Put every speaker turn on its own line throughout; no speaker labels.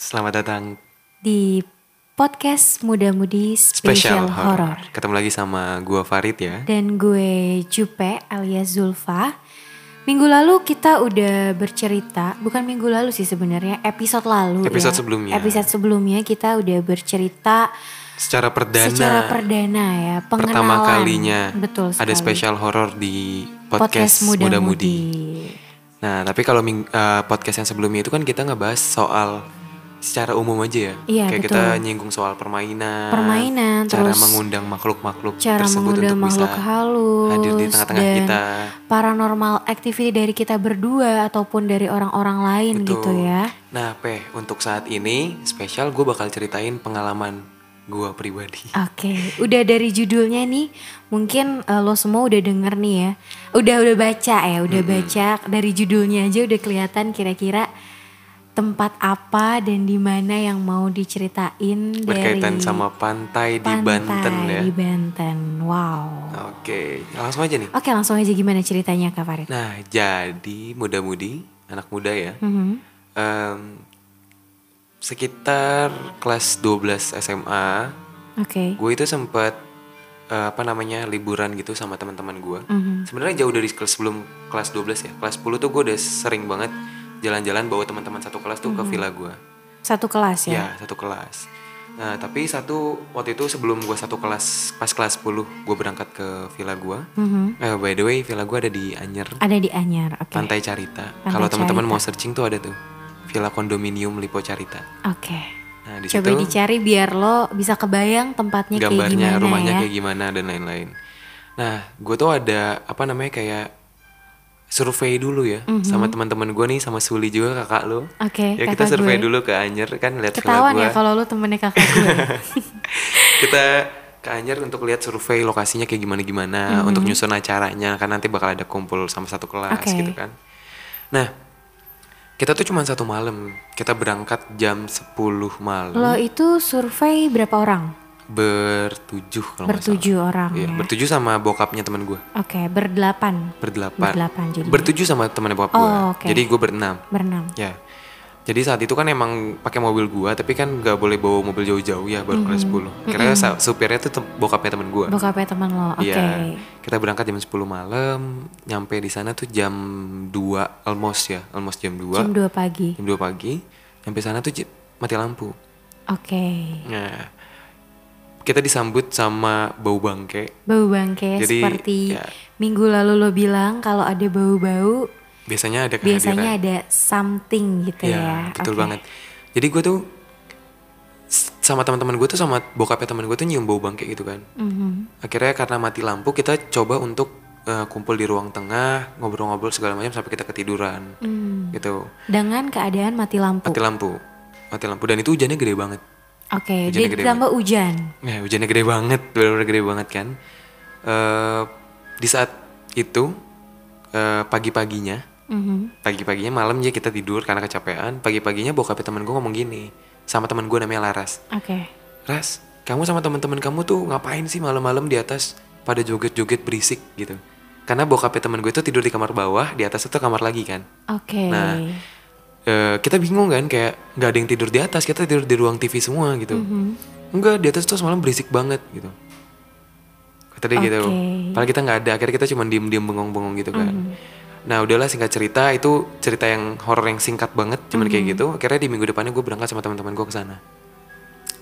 Selamat datang
di podcast Muda Mudi Special,
Special Horror.
Horror.
Ketemu lagi sama gua Farid ya.
Dan gue Jupe alias Zulfa. Minggu lalu kita udah bercerita, bukan minggu lalu sih sebenarnya, episode lalu
Episode
ya.
sebelumnya.
Episode sebelumnya kita udah bercerita
Secara perdana
secara perdana ya, pengenalan.
pertama kalinya
Betul
ada
sekali.
Special Horror di
podcast,
podcast, Muda Mudi.
Mudi.
Nah, tapi kalau ming- eh, podcast yang sebelumnya itu kan kita ngebahas soal secara umum aja ya.
Iya,
Kayak
betul.
kita nyinggung soal permainan.
Permainan,
cara
terus
mengundang makhluk-makhluk
cara
tersebut
mengundang
untuk
makhluk
bisa
halus
hadir di tengah-tengah
dan
kita.
paranormal activity dari kita berdua ataupun dari orang-orang lain gitu
Betul.
ya
Nah, Peh, untuk saat ini spesial gue bakal ceritain pengalaman gue pribadi.
Oke, udah dari judulnya nih, mungkin eh, lo semua udah denger nih ya, udah udah baca ya, udah baca dari judulnya aja udah kelihatan kira-kira tempat apa dan di mana yang mau diceritain
Berkaitan
dari
sama pantai, di
pantai
Banten ya.
Di Banten, wow.
Oke, langsung aja nih.
Oke, langsung aja gimana ceritanya Kak Farid?
Nah, jadi muda-mudi, anak muda ya.
Mhm.
em, sekitar kelas 12 SMA,
Oke,
gue itu sempat eh, apa namanya liburan gitu sama teman-teman gue.
Mhm.
Sebenarnya jauh dari kelas sebelum kelas 12 ya. Kelas 10 tuh gue udah sering banget jalan-jalan bawa teman-teman satu kelas tuh
Mhm.
ke villa gue.
satu kelas ya.
Ya, satu kelas. Nah, tapi satu waktu itu sebelum gue satu kelas pas kelas 10 gue berangkat ke villa gue.
Mhm.
Eh, by the way, villa gue ada di Anyer.
Ada di Anyar, oke.
Pantai Carita. Kalau teman-teman mau searching tuh ada tuh. Villa Kondominium Lipo Carita.
Oke.
Nah, di situ
Coba dicari biar lo bisa kebayang tempatnya kayak
gambarnya
gimana
rumahnya
ya.
kayak gimana dan lain-lain. Nah, gue tuh ada apa namanya kayak survei dulu ya sama teman-teman gue nih sama Suli juga kakak lo.
Mhm. Oke,
Ya kita
kakak
survei
gue.
dulu ke Anyer kan lihat villa
Ketahuan
gue.
ya kalau lu temennya kakak gue.
kita ke Anyer untuk lihat survei lokasinya kayak gimana-gimana
Mhm.
untuk nyusun acaranya kan nanti bakal ada kumpul sama satu kelas
Oke.
gitu kan. Nah, kita tuh cuma satu malam. Kita berangkat jam 10 malam
Lo itu survei berapa orang?
bertujuh kalau nggak salah.
Bertujuh orang
Iya,
ya.
bertujuh sama bokapnya teman gue.
Oke, berdelapan.
Berdelapan.
Berdelapan jadi.
Bertujuh sama temannya bokap gue.
Oh, oke.
Jadi gue berenam.
Berenam.
Ya. Jadi saat itu kan emang pakai mobil gua, tapi kan nggak boleh bawa mobil jauh-jauh ya baru kelas 10. Karena sa- supirnya tuh tem- bokapnya teman gua.
Mhm. Bokapnya teman lo. Oh, Oke.
Iya. Kita berangkat jam 10 malam, nyampe di sana tuh jam 2 almost ya, almost jam 2.
Jam 2 pagi.
Jam 2 pagi. Nyampe sana tuh j- mati lampu.
Oke.
Nah. Kita disambut sama bau bangke.
Bau bangke
Jadi,
seperti
ya.
minggu lalu lo bilang kalau ada bau-bau
Nah, Biasanya ada kehadiran. Iya,
biasanya ada something gitu ya.
betul
Oke.
banget. Jadi gue tuh s- sama teman-teman gue tuh sama bokapnya teman gue tuh nyium bau bangke gitu kan.
Mhm.
Akhirnya karena mati lampu kita coba untuk eh, kumpul di ruang tengah, ngobrol-ngobrol segala macam sampai kita ketiduran.
Hmm.
Gitu.
Dengan keadaan mati lampu.
Mati lampu. Mati lampu dan itu hujannya gede banget.
Oke,
Hujannya gede
jadi tambah hujan.
Ya, hujannya gede banget, benar-benar gede banget kan. Eh di saat itu eh, pagi-paginya,
Mhm.
pagi-paginya malam ya kita tidur karena kecapean. Pagi-paginya bokapnya teman gue ngomong gini sama teman gue namanya Laras.
Oke.
Ras, kamu sama teman-teman kamu tuh ngapain sih malam-malam di atas pada joget-joget berisik gitu? Karena bokapnya teman gue itu tidur di kamar bawah, di atas itu kamar lagi kan.
Oke.
Nah, eh, kita bingung kan kayak nggak ada yang tidur di atas, kita tidur di ruang TV semua gitu. Enggak, di atas tuh semalam berisik banget gitu. Kata dia gitu.
Oke. Mhm.
Padahal kita nggak ada, akhirnya kita cuma diem-diem bengong-bengong gitu kan. Nah udahlah singkat cerita itu cerita yang horor yang singkat banget cuman
Mhm.
kayak gitu. Akhirnya di minggu depannya gue berangkat sama teman-teman gue ke sana.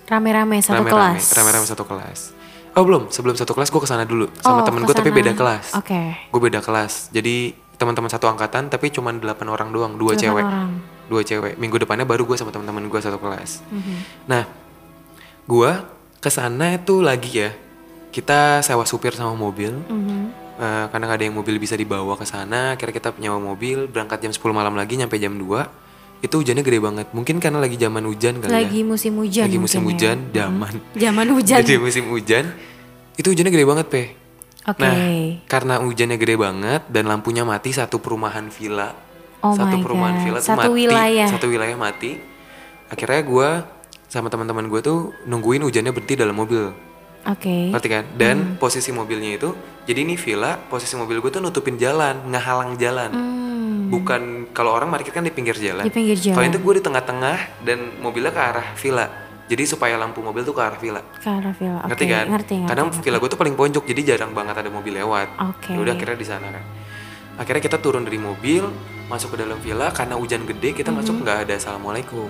Rame-rame satu
Rame-rame,
kelas.
rame-rame satu kelas. Oh belum, sebelum satu kelas gue kesana dulu sama
Oh,
temen gue tapi
kesana.
beda kelas.
Oke.
Gue beda kelas, jadi teman-teman satu angkatan tapi cuman delapan orang doang, dua
Delapan
cewek,
orang.
dua cewek. Minggu depannya baru gue sama teman-teman gue satu kelas.
Mhm.
Nah, gue kesana itu lagi ya, kita sewa supir sama mobil.
Mhm.
Eh, karena nggak ada yang mobil bisa dibawa ke sana, akhirnya kita nyewa mobil, berangkat jam 10 malam lagi nyampe jam 2 itu hujannya gede banget. Mungkin karena lagi zaman hujan kali ya.
Lagi musim hujan.
Lagi musim
mungkin
hujan,
ya.
daman.
Zaman hujan.
Jadi musim hujan itu hujannya gede banget peh.
Oke.
Nah karena hujannya gede banget dan lampunya mati satu perumahan villa,
Oh
satu
my
perumahan
God.
villa tuh
Satu
mati,
wilayah.
satu wilayah mati. Akhirnya gue sama teman-teman gue tuh nungguin hujannya berhenti dalam mobil,
Oke. Hmm.
ngerti kan? Dan posisi mobilnya itu, jadi ini villa, posisi mobil gue tuh nutupin jalan, ngehalang jalan,
Hmm.
bukan kalau orang parkir kan di pinggir jalan.
Di pinggir
Kalau
jalan.
itu gue di tengah-tengah dan mobilnya ke arah villa. Jadi supaya lampu mobil tuh ke arah villa.
Ke arah villa. Oke,
ngerti kan?
Ngerti, ngerti,
Karena
ngerti. Oh,
villa gue tuh paling pojok jadi jarang banget ada mobil lewat.
Oke.
Ya Udah akhirnya di sana kan. Akhirnya kita turun dari mobil, masuk ke dalam villa karena hujan gede kita masuk nggak ada assalamualaikum.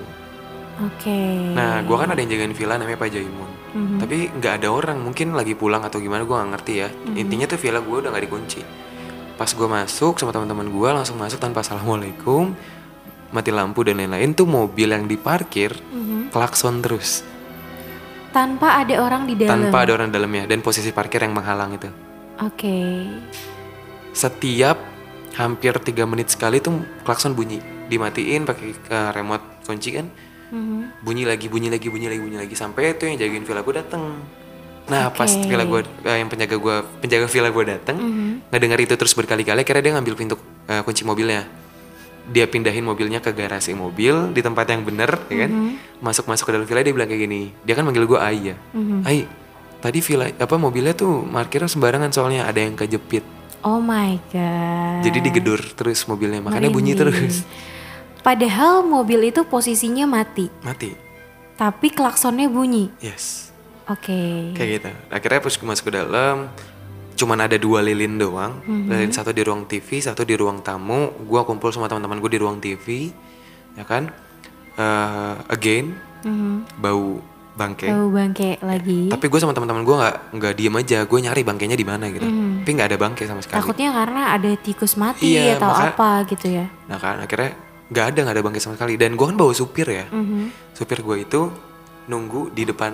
Oke.
Nah, gua kan ada yang jagain villa namanya Pak Jaimun.
Mhm.
Tapi nggak ada orang, mungkin lagi pulang atau gimana gua nggak ngerti ya. Intinya tuh villa gua udah nggak dikunci. Pas gua masuk sama teman-teman gua langsung masuk tanpa assalamualaikum, mati lampu dan lain-lain tuh mobil yang diparkir klakson terus
Mm-hmm. tanpa ada orang di dalam.
tanpa ada orang di dalamnya dan posisi parkir yang menghalang itu.
Oke.
Setiap hampir tiga menit sekali tuh klakson bunyi, dimatiin pakai eh, remote kunci kan.
Mhm.
bunyi lagi bunyi lagi bunyi lagi bunyi lagi sampai itu yang jagain villa gue dateng nah pas
Oke.
villa gue eh, yang penjaga gue penjaga villa gue dateng
Mm-hmm.
ngedenger itu terus berkali-kali akhirnya dia ngambil pintu eh, kunci mobilnya dia pindahin mobilnya ke garasi mobil di tempat yang bener ya kan masuk masuk ke dalam villa dia bilang kayak gini dia kan manggil gue Ai ya Ai tadi villa apa mobilnya tuh parkirnya sembarangan soalnya ada yang kejepit
Oh my god.
jadi digedur terus mobilnya makanya bunyi
Merinding.
terus
Padahal mobil itu posisinya mati,
mati
tapi klaksonnya bunyi.
yes
Oke.
kayak gitu akhirnya pas gue masuk ke dalam cuman ada dua lilin doang lilin satu di ruang TV satu di ruang tamu gue kumpul sama teman-teman gue di ruang TV ya kan Eh, again
Mhm.
bau bangke
Tahu bangke lagi.
Ya, tapi gue sama teman-teman gue nggak nggak diem aja gue nyari bangkainya di mana gitu tapi nggak ada bangke sama sekali
Takutnya karena ada tikus mati
Iya,
atau
maka-
apa gitu ya.
nah kan akhirnya nggak ada nggak ada bangke sama sekali dan gue kan bawa supir ya
Mm-hmm.
supir gue itu nunggu di depan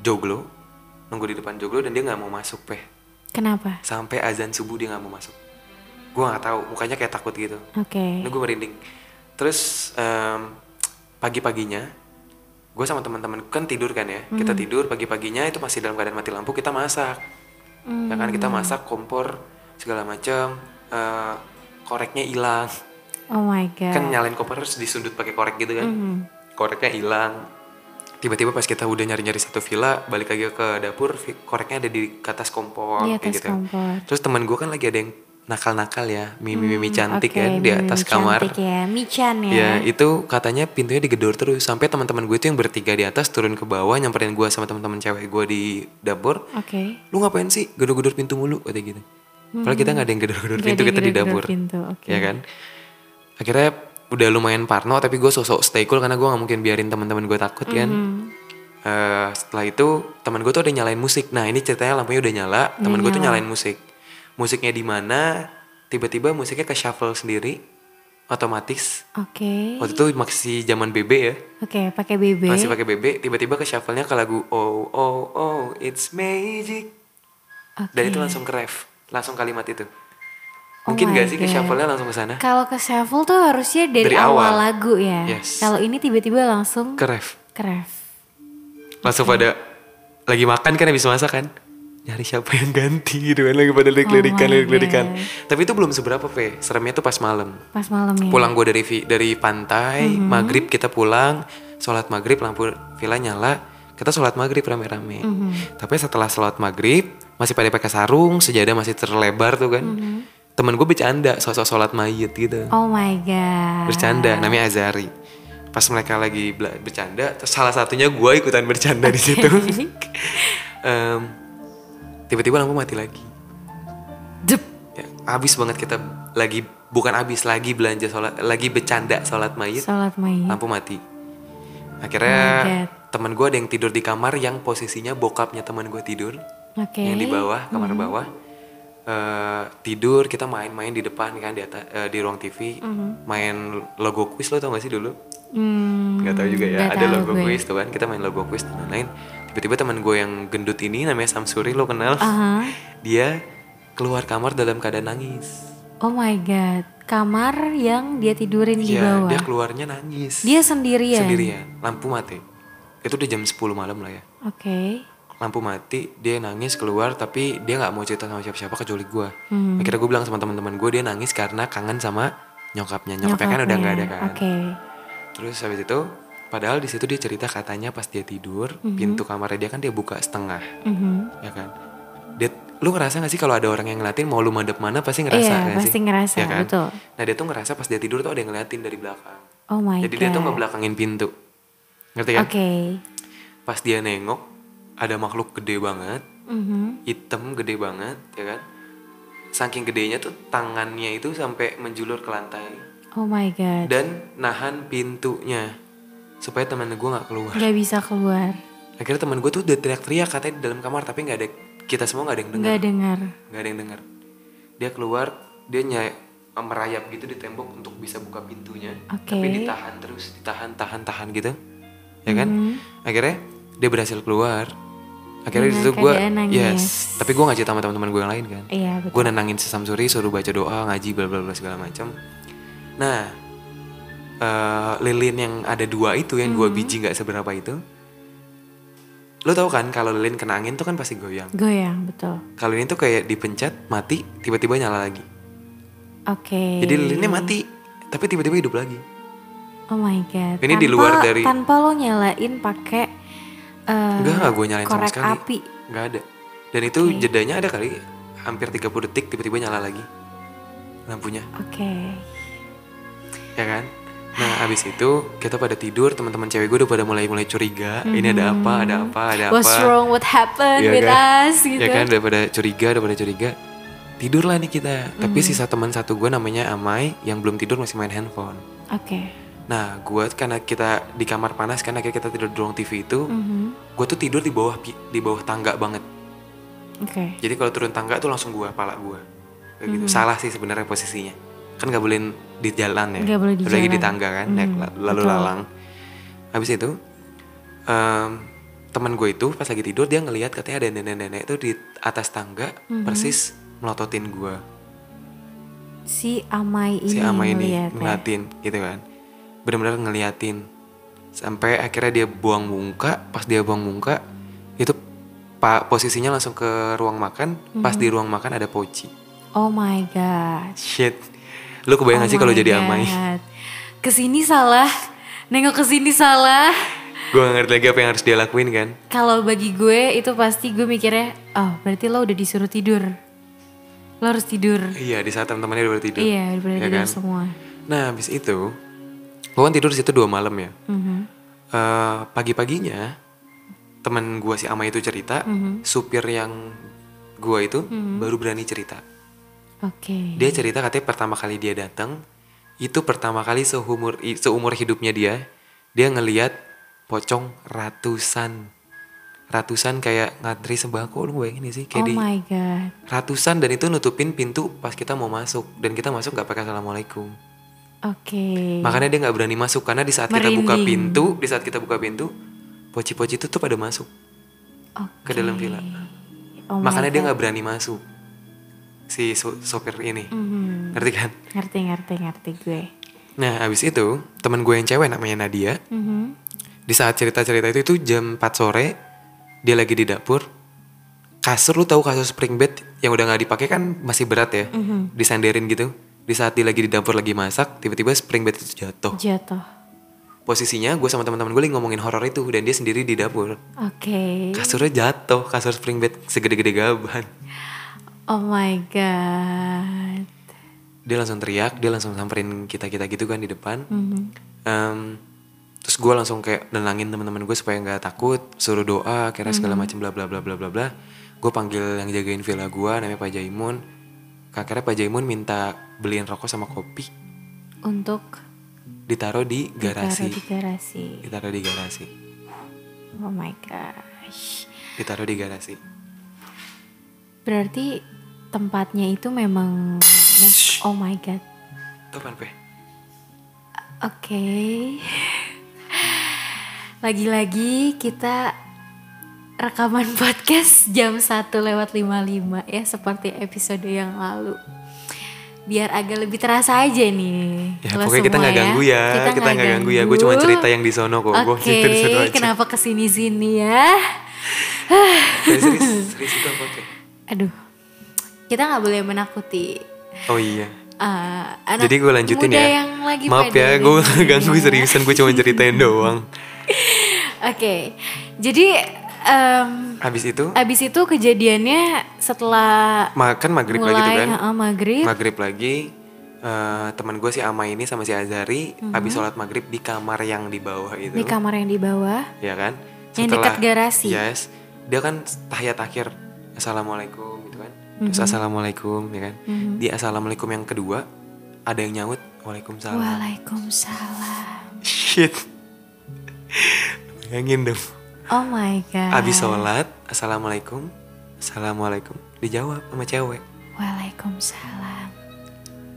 joglo nunggu di depan joglo dan dia nggak mau masuk peh
Kenapa?
sampai azan subuh dia nggak mau masuk gue nggak tahu mukanya kayak takut gitu ini
Oke.
gue merinding terus em, pagi-paginya gue sama teman-teman kan tidur kan ya kita tidur pagi-paginya itu masih dalam keadaan mati lampu kita masak ya kan kita masak kompor segala macam eh, koreknya hilang
Oh my god. Mm-hmm.
kan nyalain kompor terus disundut pakai korek gitu kan koreknya hilang tiba-tiba pas kita udah nyari-nyari satu villa balik lagi ke dapur vi- koreknya ada di ke atas kompor kayak
Di Iya, atas
gitu
kompor.
terus teman gue kan lagi ada yang nakal-nakal ya mimi-mimi cantik
Hmm, Oke,
kan di
mimi
atas kamar
Cantik ya, Michan ya.
Ya itu katanya pintunya digedor terus sampai teman-teman gue itu yang bertiga di atas turun ke bawah nyamperin gue sama teman-teman cewek gue di dapur.
Oke.
Lu ngapain sih gedor-gedor pintu mulu kata gitu. Padahal kita nggak ada yang gedor-gedor
Nggak
pintu
ada yang
kita di
gedor-gedor
dapur.
pintu, oke.
Ya kan. Akhirnya udah lumayan parno tapi gue sosok stay cool karena gue nggak mungkin biarin teman-teman gue takut kan.
Mhm. Mm-hmm.
Eh, setelah itu teman gue tuh ada nyalain musik. Nah ini ceritanya lampunya udah nyala. Teman
Iya.
gue tuh nyalain musik. Musiknya di mana? Tiba-tiba musiknya ke shuffle sendiri, otomatis.
Oke.
Waktu itu masih zaman BB ya.
Oke, pakai BB.
Masih pakai BB, tiba-tiba ke shuffle-nya ke lagu Oh Oh Oh It's Magic.
Oke.
Dan itu langsung ke ref, langsung kalimat itu.
Iya. Oh
Mungkin
my
gak sih ke
God.
shuffle-nya langsung ke sana?
Kalau ke shuffle tuh harusnya dari,
ya. Dari
awal.
awal.
lagu ya.
Yes.
Kalau ini tiba-tiba langsung
Ke ref.
ke ref.
Langsung pada lagi makan kan habis masak kan? Nyari siapa yang ganti gitu kan lagi pada lirik-lirikan,
Oh my
lirik-lirikan. Tapi itu belum seberapa, Pe. Seremnya tuh pas malam.
Pas malam ya.
Pulang gue dari vi- dari pantai,
Mm-hmm.
maghrib kita pulang, sholat maghrib lampu villa nyala, kita sholat maghrib rame-rame.
Mm-hmm.
Tapi setelah sholat maghrib masih pada pakai sarung, sejadah masih terlebar tuh kan.
Mm-hmm.
Temen gue bercanda sosok sholat mayit gitu,
Oh my god.
bercanda, namanya Azari. Pas mereka lagi bela- bercanda, terus salah satunya gue ikutan bercanda di situ. Em, Tiba-tiba lampu mati lagi.
Jep.
Ya, abis banget kita lagi bukan abis lagi belanja sholat, lagi bercanda sholat mayit
Salat mayit.
lampu mati
Oh my
akhirnya
God.
teman gue ada yang tidur di kamar yang posisinya bokapnya teman gue tidur
Oke. Mm-hmm.
yang di bawah kamar bawah Eh, tidur kita main-main di depan kan di atas eh, di ruang TV
Mm-hmm.
main logo quiz lo tau gak sih dulu
Hmm,
nggak tahu juga ya
nggak
ada
tahu
logo
gue.
quiz tuh kan kita main logo quiz dan lain-lain tiba-tiba teman gue yang gendut ini namanya Samsuri lo kenal
Aha.
dia keluar kamar dalam keadaan nangis
Oh my god. Kamar yang dia tidurin di
Iya,
bawah.
dia keluarnya nangis
Dia iya. ya? sendirian.
sendirian lampu mati itu udah jam 10 malam lah ya
Oke.
lampu mati dia nangis keluar tapi dia nggak mau cerita sama siapa-siapa kecuali gue
Hmm,
akhirnya gue bilang sama teman-teman gue dia nangis karena kangen sama nyokapnya nyokapnya, kan udah nggak ada kan
ya. Oke.
terus habis itu padahal di situ dia cerita
Hmm.
katanya pas dia tidur pintu kamarnya dia kan dia buka setengah
Mhm.
ya kan dia lu ngerasa gak sih kalau ada orang yang ngeliatin mau lu madep mana pasti ngerasa
Iya,
nggak
pasti
sih?
ngerasa,
Iya kan?
betul.
Nah dia tuh ngerasa pas dia tidur tuh ada yang ngeliatin dari belakang.
Oh my
Jadi
god.
dia tuh ngebelakangin pintu. Ngerti
Oke.
kan? Pas dia nengok ada makhluk gede banget,
Mhm.
hitam gede banget, ya kan? Saking gedenya tuh tangannya itu sampai menjulur ke lantai
Oh my god.
dan nahan pintunya supaya teman gue nggak keluar.
Gak bisa keluar.
Akhirnya teman gue tuh udah teriak-teriak katanya di dalam kamar tapi nggak ada kita semua nggak ada yang dengar.
Gak dengar.
nggak ada yang dengar dia keluar dia nyai eh, merayap gitu di tembok untuk bisa buka pintunya
Oke.
tapi ditahan terus ditahan tahan tahan gitu ya
Hmm.
kan akhirnya dia berhasil keluar akhirnya
Dengan
itu gue
keadaan Nah, nangis.
yes tapi gue ngajak sama teman-teman gue yang lain kan
Iya betul.
gue nenangin sesam suri suruh baca doa ngaji bla bla bla segala macam nah eh, lilin yang ada dua itu yang
Hmm.
dua biji nggak seberapa itu lo tau kan kalau lilin kena angin tuh kan pasti goyang
Goyang betul.
kalau ini tuh kayak dipencet mati tiba-tiba nyala lagi
Oke.
jadi lilinnya mati tapi tiba-tiba hidup lagi
Oh my god.
Ini di
Tanpa-
luar dari-
tanpa lo nyalain pakai eh,
enggak enggak gue nyalain sama
korek
sekali
api.
enggak ada dan itu jedanya ada kali hampir 30 detik tiba-tiba nyala lagi lampunya
Oke.
ya kan nah abis itu kita pada tidur teman-teman cewek gue udah pada mulai mulai curiga ini ada apa ada apa ada
Mm-hmm. What's
apa
wrong? What happened
Iya
with
kan?
us? Gitu.
ya kan daripada curiga daripada curiga tidurlah nih kita tapi
Mm-hmm.
sisa teman satu gue namanya Amai yang belum tidur masih main handphone
Oke.
Nah, gue karena kita di kamar panas kan akhirnya kita tidur di ruang TV itu,
Mhm.
gue tuh tidur di bawah pi- di bawah tangga banget.
Oke.
Jadi kalau turun tangga tuh langsung gue pala gue. Kayak gitu.
Hmm.
Salah sih sebenarnya posisinya. Kan gak boleh di jalan ya.
Nggak boleh di
Apalagi di
jalan. Hmm.
tangga kan, naik la- lalu lalang. Habis itu em, teman gue itu pas lagi tidur dia ngelihat katanya ada nenek-nenek tuh di atas tangga
Hmm.
persis melototin gue.
Si Amai ini.
si Ama ini
ngeliat ya.
ngeliatin gitu kan benar-benar ngeliatin sampai akhirnya dia buang muka pas dia buang muka itu pak posisinya langsung ke ruang makan pas
Mm-hmm.
di ruang makan ada poci
Oh my god.
shit lu kebayang gak sih kalau jadi amai
Oh God. Kesini salah, nengok kesini salah.
gue gak ngerti lagi apa yang harus dia lakuin kan
Kalau bagi gue itu pasti gue mikirnya, oh berarti lo udah disuruh tidur. Lo harus tidur.
iya di saat teman-temannya udah tidur
Iya, udah
ya
tidur
kan?
semua.
nah habis itu gue kan tidur di situ dua malam ya
Mhm.
Eh, pagi-paginya teman gua si Ama itu cerita
Mhm.
supir yang gua itu baru berani cerita
Oke.
dia cerita katanya pertama kali dia datang itu pertama kali seumur i- seumur hidupnya dia dia ngeliat pocong ratusan ratusan kayak ngantri sembako lu bayangin gak sih kayak
Oh
di
my god.
ratusan dan itu nutupin pintu pas kita mau masuk dan kita masuk nggak pakai assalamualaikum
Oke.
Makanya dia nggak berani masuk karena di saat kita buka
Iya. Merinding.
pintu, di saat kita buka pintu, poci-poci itu tuh pada masuk
Oke.
ke dalam villa.
Oh my
Makanya dia
God.
nggak berani masuk. Si so- sopir ini.
Mhm.
Ngerti kan?
Ngerti ngerti ngerti gue.
Nah, habis itu teman gue yang cewek namanya Nadia,
Mhm.
di saat cerita-cerita itu itu jam 4 sore, dia lagi di dapur. Kasur lu tahu kasur spring bed yang udah nggak dipakai kan masih berat ya.
Mm-hmm.
Disandarin gitu. Di saat dia lagi di dapur lagi masak, tiba-tiba spring bed itu jatuh.
Jatuh.
Posisinya gue sama teman-teman gue lagi ngomongin horor itu dan dia sendiri di dapur.
Oke.
Kasurnya jatuh, kasur spring bed segede-gede gaban.
Oh my god.
Dia langsung teriak, dia langsung samperin kita-kita gitu kan di depan.
Mhm.
Em, terus gue langsung kayak nenangin teman-teman gue supaya nggak takut, suruh doa,
Hmm.
kira segala macam bla bla bla bla bla bla. Gue panggil yang jagain villa gue, namanya Pak Jaimun. Akhirnya Pak Jaimun minta beliin rokok sama kopi,
Untuk
ditaruh di
taruh
garasi,
di garasi.
ditaruh di garasi,
Oh my gosh.
ditaruh di garasi.
Berarti tempatnya itu memang
Shh.
Oh my god.
Tuh pan Pe.
Oke. Lagi-lagi kita rekaman podcast jam 1 lewat 55 ya seperti episode yang lalu. Biar agak lebih terasa aja nih.
Ya
lo
pokoknya kita
semua
nggak ganggu ya, kita,
nggak
nggak ganggu ya. Gue cuma cerita yang di sono kok. Gua
Oke,
cerita di sono aja.
kenapa kesini sini ya?
Serius, serius, serius itu apa Pe?
Aduh, kita nggak boleh menakuti
Oh iya.
Eh, anak
Jadi gue lanjutin
muda
ya.
yang lagi
Maaf ya,
pada
gue
dengerin
ganggu
ya.
seriusan. Gue cuma ceritain doang.
Oke, jadi em,
Habis itu,
abis itu kejadiannya setelah
makan maghrib
mulai
lagi tuh kan
heeh, maghrib
maghrib lagi eh, teman gue si Ama ini sama si Azari habis sholat maghrib di kamar yang di bawah itu
Mhm. di kamar yang di bawah
ya kan
Yang dekat garasi.
yes dia kan tahiyat akhir assalamualaikum gitu kan
Mhm.
terus assalamualaikum ya kan di assalamualaikum yang kedua ada yang nyaut waalaikumsalam
Waalaikumsalam.
shit bayangin dong
Oh my god.
abis sholat assalamualaikum assalamualaikum dijawab sama cewek
Waalaikumsalam.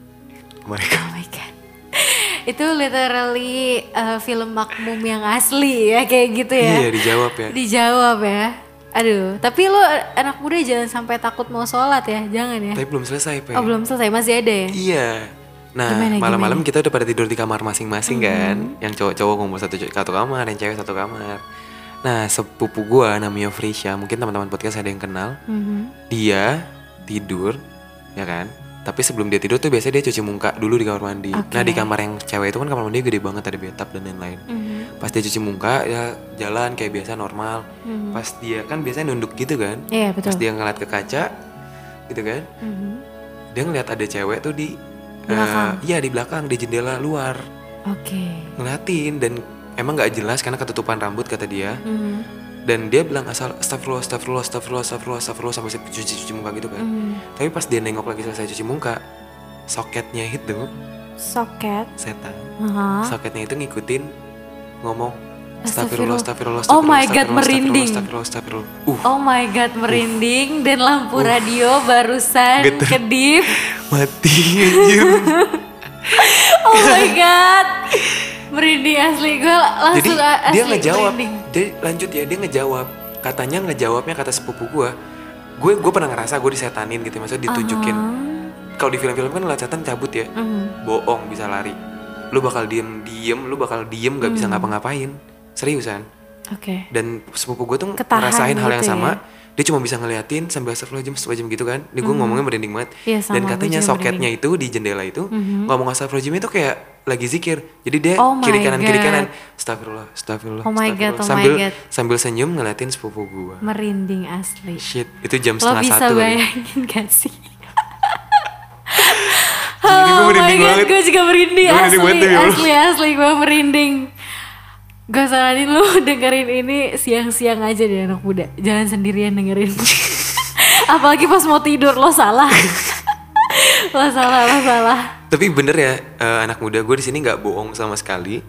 mereka
Oh my god. Itu literally uh, film makmum yang asli ya kayak gitu ya.
iya dijawab ya
Dijawab ya. Aduh, tapi lo anak muda jangan sampai takut mau sholat ya, jangan ya.
tapi belum selesai Pe.
Oh belum selesai masih ada ya.
Iya.
Gimana,
Nah,
Mm-hmm.
malam-malam kita udah pada tidur di kamar masing-masing kan. Yang cowok-cowok ngumpul satu, satu kamar, yang cewek satu kamar. Nah, sepupu gua namanya Frisha, mungkin teman-teman podcast ada yang kenal.
Mhm.
Dia tidur, ya kan? Tapi sebelum dia tidur tuh biasanya dia cuci muka dulu di kamar mandi.
Oke.
Nah, di kamar yang cewek itu kan kamar mandi gede banget ada bathtub dan lain-lain.
Mhm.
Pas dia cuci muka, ya jalan kayak biasa normal. Pas dia kan biasanya nunduk gitu kan.
Mhm. Iya
Pas
betul.
dia ngeliat ke kaca, gitu kan?
Mhm.
dia ngeliat ada cewek tuh di
Belakang.
eh, iya di belakang di jendela luar
Oke.
ngeliatin dan emang nggak jelas karena ketutupan rambut kata dia
Mhm.
dan dia bilang asal astagfirullah astagfirullah astagfirullah astagfirullah astagfirullah sampai cuci cuci muka gitu kan
Mhm.
tapi pas dia nengok lagi selesai cuci muka soketnya itu
Soket.
setan
Aha.
soketnya itu ngikutin ngomong
Astagfirullah.
astagfirullah astagfirullah
Oh my God,
astagfirullah,
merinding.
astagfirullah astagfirullah astagfirullah uh
Oh my god, merinding dan lampu radio barusan
Getar.
kedip.
mati Gitu. anjir
Oh my god. Merinding asli gue
Jadi
langsung a- Ah, asli
dia ngejawab,
merinding.
dia lanjut ya dia ngejawab. Katanya ngejawabnya kata sepupu gue, gue gue pernah ngerasa gue disetanin gitu, maksudnya ditunjukin.
Uh-huh.
Kalau di film-film kan ngeliat setan cabut ya,
Mhm.
bohong bisa lari. Lu bakal diem diem, lu bakal diem gak
Mm-hmm.
bisa ngapa-ngapain, seriusan.
Oke.
Dan sepupu gue tuh
Ketahan
ngerasain hal yang
gitu
sama. Dia cuma bisa ngeliatin sambil astagfirullah jam jam gitu kan. Ini gue ngomongnya merinding banget.
Mm-hmm. Iya, sama,
Dan
gue
katanya
juga Mm-hmm.
soketnya itu di jendela itu ngomong astagfirullah itu kayak lagi zikir. Jadi dia
Oh my
kiri kanan kiri
God.
kanan astagfirullah astagfirullah.
Oh my God,
astagfirullah. sambil
oh my God.
sambil senyum ngeliatin sepupu gue.
Merinding asli.
Shit, itu jam
Lo
setengah
bisa
satu. kali.
bayangin gak ya? sih?
Ini gue
Oh my
merinding
god,
banget.
gue juga merinding
Gue
asli,
merinding banget demi Allah.
asli, asli, gue merinding. Gue saranin lu dengerin ini siang-siang aja deh anak muda. Jangan sendirian dengerin. Apalagi pas mau tidur lo salah. lo salah, lo salah.
Tapi bener ya eh, anak muda gue di sini nggak bohong sama sekali.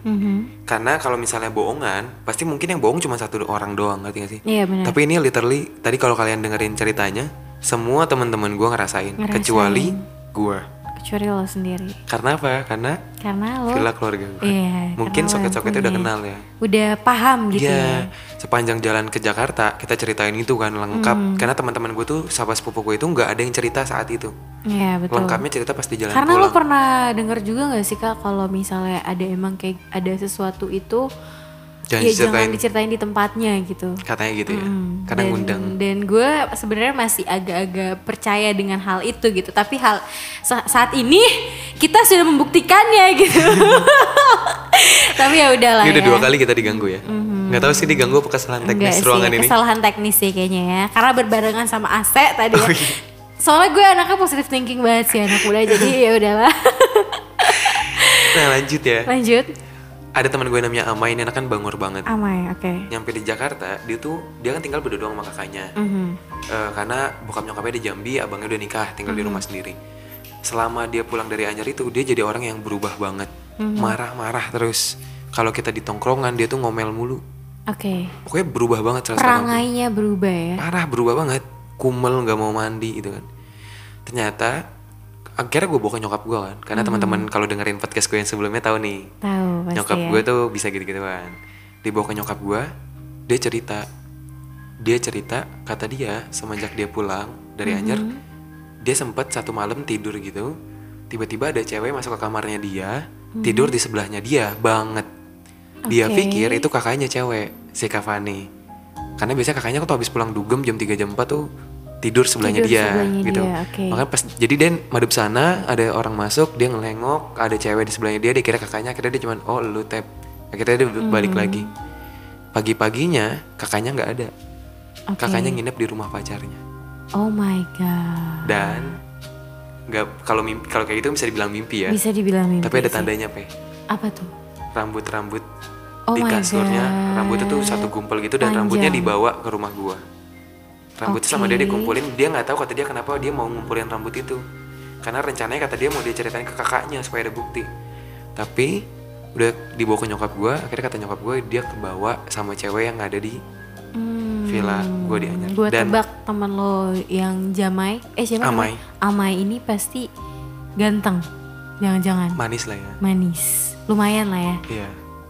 Karena kalau misalnya bohongan, pasti mungkin yang bohong cuma satu orang doang, ngerti gak sih?
Iya benar.
Tapi ini literally tadi kalau kalian dengerin ceritanya, semua teman-teman gue ngerasain,
Ngerasain.
kecuali gue.
Kecuali lo sendiri.
Karena apa? Karena
Karena lo
villa keluarga gue.
Oh. Iya,
Mungkin
karena lo
soket-soketnya
yang
udah
punya.
kenal ya.
udah paham gitu
Iya, sepanjang jalan ke Jakarta kita ceritain itu kan
Hmm.
lengkap. Karena teman-teman gue tuh sahabat sepupu gue itu nggak ada yang cerita saat itu.
ya. Iya, betul.
Lengkapnya cerita pas di jalan
Karena lo
Nah, pulang.
pernah denger juga gak sih kak kalau misalnya ada emang kayak ada sesuatu itu
Jangan
ya
diceritain.
jangan diceritain di tempatnya gitu.
Katanya gitu ya.
Mm,
Karena
dan,
ngundang.
Dan gue sebenarnya masih agak-agak percaya dengan hal itu gitu. Tapi hal sa- saat ini kita sudah membuktikannya gitu. Tapi ya udahlah
Ini udah
ya. Hmm.
dua kali kita diganggu ya. Nggak tahu sih diganggu apa kesalahan
Enggak
teknis
sih,
ruangan ini.
kesalahan teknis sih kayaknya ya. Karena berbarengan sama AC tadi.
Oh,
ya.
iya.
Soalnya gue anaknya positive thinking banget sih anak muda. jadi ya udahlah.
Nah lanjut ya.
Lanjut.
Ada teman gue namanya Ama ini anak kan bangor banget.
Amai, oke.
nyampe di Jakarta dia tuh dia kan tinggal berdua sama kakaknya
Mhm.
Eh, karena bokap nyokapnya di Jambi abangnya udah nikah tinggal di rumah sendiri selama dia pulang dari Anjar itu dia jadi orang yang berubah banget marah-marah terus kalau kita di tongkrongan dia tuh ngomel mulu
Oke.
pokoknya berubah banget 180.
Perangainya berubah ya.
parah berubah banget kumel nggak mau mandi gitu kan ternyata akhirnya gue bawa ke nyokap gue kan karena teman-teman kalau dengerin podcast gue yang sebelumnya tahu nih
Tahu pasti
nyokap
ya.
gue tuh bisa gitu-gituan dibawa ke nyokap gue dia cerita dia cerita kata dia semenjak dia pulang dari
Mm-hmm.
Anyer dia sempat satu malam tidur gitu tiba-tiba ada cewek masuk ke kamarnya dia tidur di sebelahnya dia banget dia
Mm-hmm. Oke.
pikir itu kakaknya cewek si Kavani karena biasanya kakaknya tuh habis pulang dugem jam 3 jam 4 tuh tidur sebelahnya
Tidur
dia
sebelahnya
gitu
dia, oke.
makanya pas jadi dia madep sana ada orang masuk dia ngelengok ada cewek di sebelahnya dia dia kira kakaknya akhirnya dia cuman oh lu tap akhirnya dia balik
Hmm.
lagi pagi paginya kakaknya nggak ada
Oke.
kakaknya nginep di rumah pacarnya
Oh my god.
dan nggak kalau mimpi kalau kayak gitu bisa dibilang mimpi ya
Bisa dibilang mimpi.
tapi ada
sih.
tandanya pe
apa tuh?
rambut rambut
Oh
di
my
kasurnya
God.
rambutnya tuh satu gumpal gitu dan rambutnya
Panjang.
dibawa ke rumah gua rambutnya sama dia
Oke.
dikumpulin dia nggak tahu kata dia kenapa dia mau ngumpulin rambut itu karena rencananya kata dia mau dia ceritain ke kakaknya supaya ada bukti tapi udah dibawa ke nyokap gua akhirnya kata nyokap gua dia kebawa sama cewek yang ada di
Hmm.
Villa gua di Anyar
Gua
dan
tebak teman lo yang Jamai, eh siapa?
Amai.
namanya? Amai ini pasti ganteng. Jangan-jangan
manis lah ya
manis. Lumayan lah ya.
iya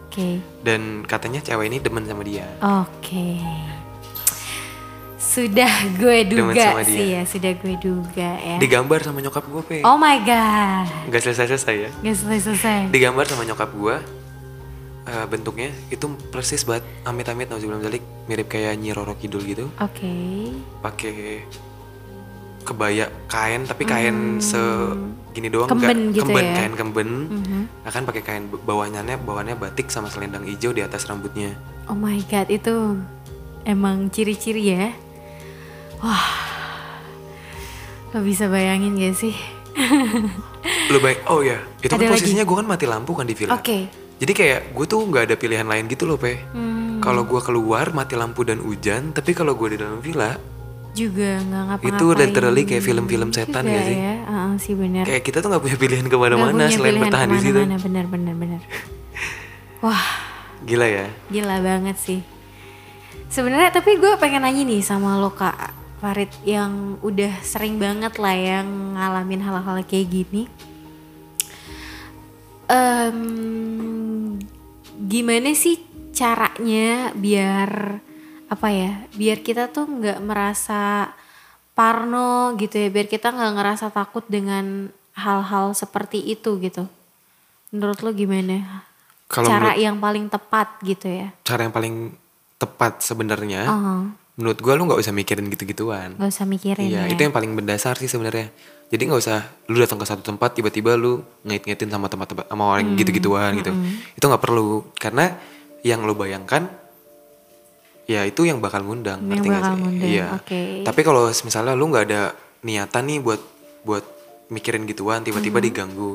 Oke.
dan katanya cewek ini demen sama dia
Oke. Sudah gue
Demen
duga
sama dia.
sih ya, sudah gue duga ya.
digambar sama nyokap gua pe
Oh my god.
nggak selesai selesai ya
Gak selesai-selesai.
digambar sama nyokap gua eh, bentuknya itu persis banget amit-amit nauzubillah zalik mirip kayak Nyi Roro Kidul gitu
Oke.
pakai kebaya kain tapi kain segini doang
Hmm. Kemben gitu
kemben
ya?
kain kemben
Mhm.
akan pakai kain be- bawahannya bawahannya batik sama selendang hijau di atas rambutnya
Oh my god, itu emang ciri-ciri ya. Wah. Lo bisa bayangin gak sih?
lu baik oh ya itu kan
Ada lagi?
posisinya gua kan mati lampu kan di villa
Oke. Hmm.
jadi kayak gue tuh nggak ada pilihan lain gitu loh pe kalau gua keluar mati lampu dan hujan tapi kalau gua di dalam villa
Juga nggak ngapa-ngapain.
Itu literally kayak film-film setan
juga
gak sih?
Ya? Ah, ah, sih benar.
kayak kita tuh nggak punya pilihan kemana-mana selain bertahan di situ
Benar benar benar. Wah.
gila ya
Gila banget sih. Sebenarnya tapi gue pengen nanya nih sama lo kak Farid yang udah sering banget lah yang ngalamin hal-hal kayak gini. Em, gimana sih caranya biar apa ya? Biar kita tuh nggak merasa parno gitu ya. Biar kita nggak ngerasa takut dengan hal-hal seperti itu gitu. Menurut lo gimana?
Kalau
cara
menurut-
yang paling tepat gitu ya.
cara yang paling tepat sebenarnya
Oh,
menurut gua lu nggak usah mikirin gitu-gituan
gak usah mikirin
Iya,
ya.
itu yang paling mendasar sih sebenarnya. Jadi nggak usah lu datang ke satu tempat tiba-tiba lu ngait-ngaitin sama tempat-tempat sama orang
Hmm,
gitu-gituan gitu. Itu nggak perlu karena yang lu bayangkan ya itu yang bakal ngundang,
Yang
ngerti nggak
bakal
sih?
ngundang,
Iya.
oke.
Tapi kalau misalnya lu nggak ada niatan nih buat buat mikirin gituan tiba-tiba
Hmm.
diganggu.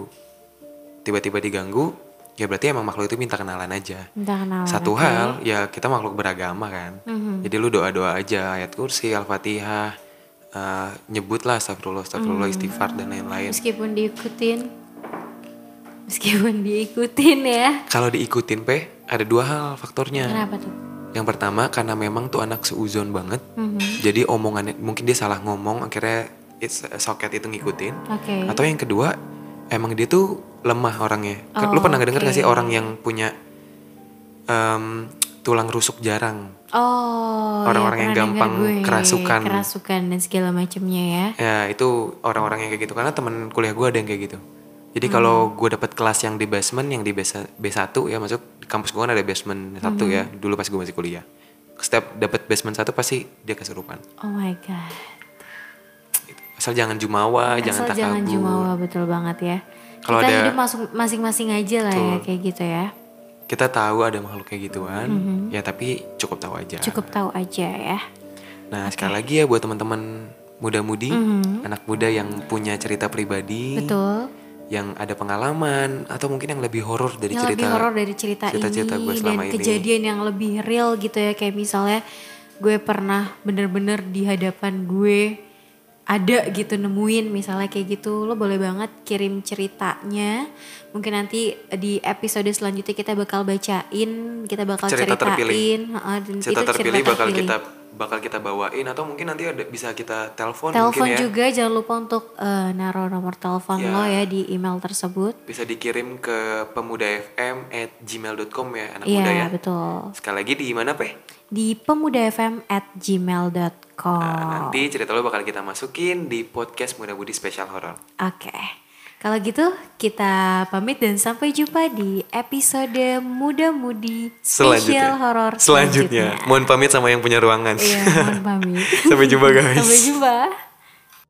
Tiba-tiba diganggu, ya berarti emang makhluk itu minta kenalan aja.
Minta kenalan,
Satu
oke. Mm-hmm.
hal ya kita makhluk beragama kan jadi lu doa doa aja ayat kursi al-fatihah eh, nyebutlah astagfirullah astagfirullah
Mm.
istighfar dan lain-lain
Meskipun diikutin, meskipun diikutin ya.
kalau diikutin pe ada dua hal faktornya
Kenapa tuh?
yang pertama karena memang tuh anak seuzon banget
Mm-hmm.
jadi omongannya mungkin dia salah ngomong akhirnya it's- eh, soket itu ngikutin
Oke.
atau yang kedua emang dia tuh lemah orangnya Kan lu
Oh,
pernah denger nggak sih
oke.
orang yang punya em, tulang rusuk jarang
Oh,
Orang-orang
ya,
yang
pernah
gampang
denger gue.
kerasukan.
kerasukan dan segala macamnya ya.
Ya itu orang-orang yang kayak gitu karena teman kuliah gue ada yang kayak gitu. Jadi
Hmm.
kalau gue dapat kelas yang di basement, yang di base- B1 ya masuk di kampus gue kan ada basement satu
Hmm.
ya dulu pas gue masih kuliah. Setiap dapat basement satu pasti dia kesurupan.
Oh my god.
Asal jangan jumawa, Ah, jangan
Asal
takabur.
jangan jumawa betul banget ya.
Kalau
Kita
ada- Iya.
hidup masuk- masing-masing aja lah ya kayak gitu ya.
Kita tahu ada makhluk kayak gituan, ya tapi cukup tahu aja.
Hmm. Cukup tahu aja ya.
Nah sekali lagi ya buat teman-teman muda-mudi, anak muda yang punya cerita pribadi,
Hmm. Betul.
yang ada pengalaman atau mungkin yang lebih horor dari
yang
cerita
lebih horor dari cerita,
cerita-cerita
ini
gue
dan
selama ini.
kejadian yang lebih real gitu ya kayak misalnya gue pernah bener-bener di hadapan gue ada gitu nemuin misalnya kayak gitu lo boleh banget kirim ceritanya mungkin nanti di episode selanjutnya kita bakal bacain kita bakal
Cerita terpilih.
ceritain Heeh, dan
cerita
itu
terpilih bakal kita ya. bakal kita bawain atau mungkin nanti ada bisa kita telepon
telepon
mungkin ya
juga jangan lupa untuk eh, naruh nomor telepon
Ya.
lo ya di email tersebut
bisa dikirim ke pemudafm at gmail.com ya anak muda ya
iya betul
sekali lagi di mana peh
di pemudafm at gmail.com
Nah, nanti cerita lo bakal kita masukin di podcast muda budi spesial horor
Oke. Kalau gitu kita pamit dan sampai jumpa di episode muda-mudi
selanjutnya
spesial horor
selanjutnya mohon pamit sama yang punya ruangan
Iya, mohon pamit.
sampai jumpa guys
sampai jumpa.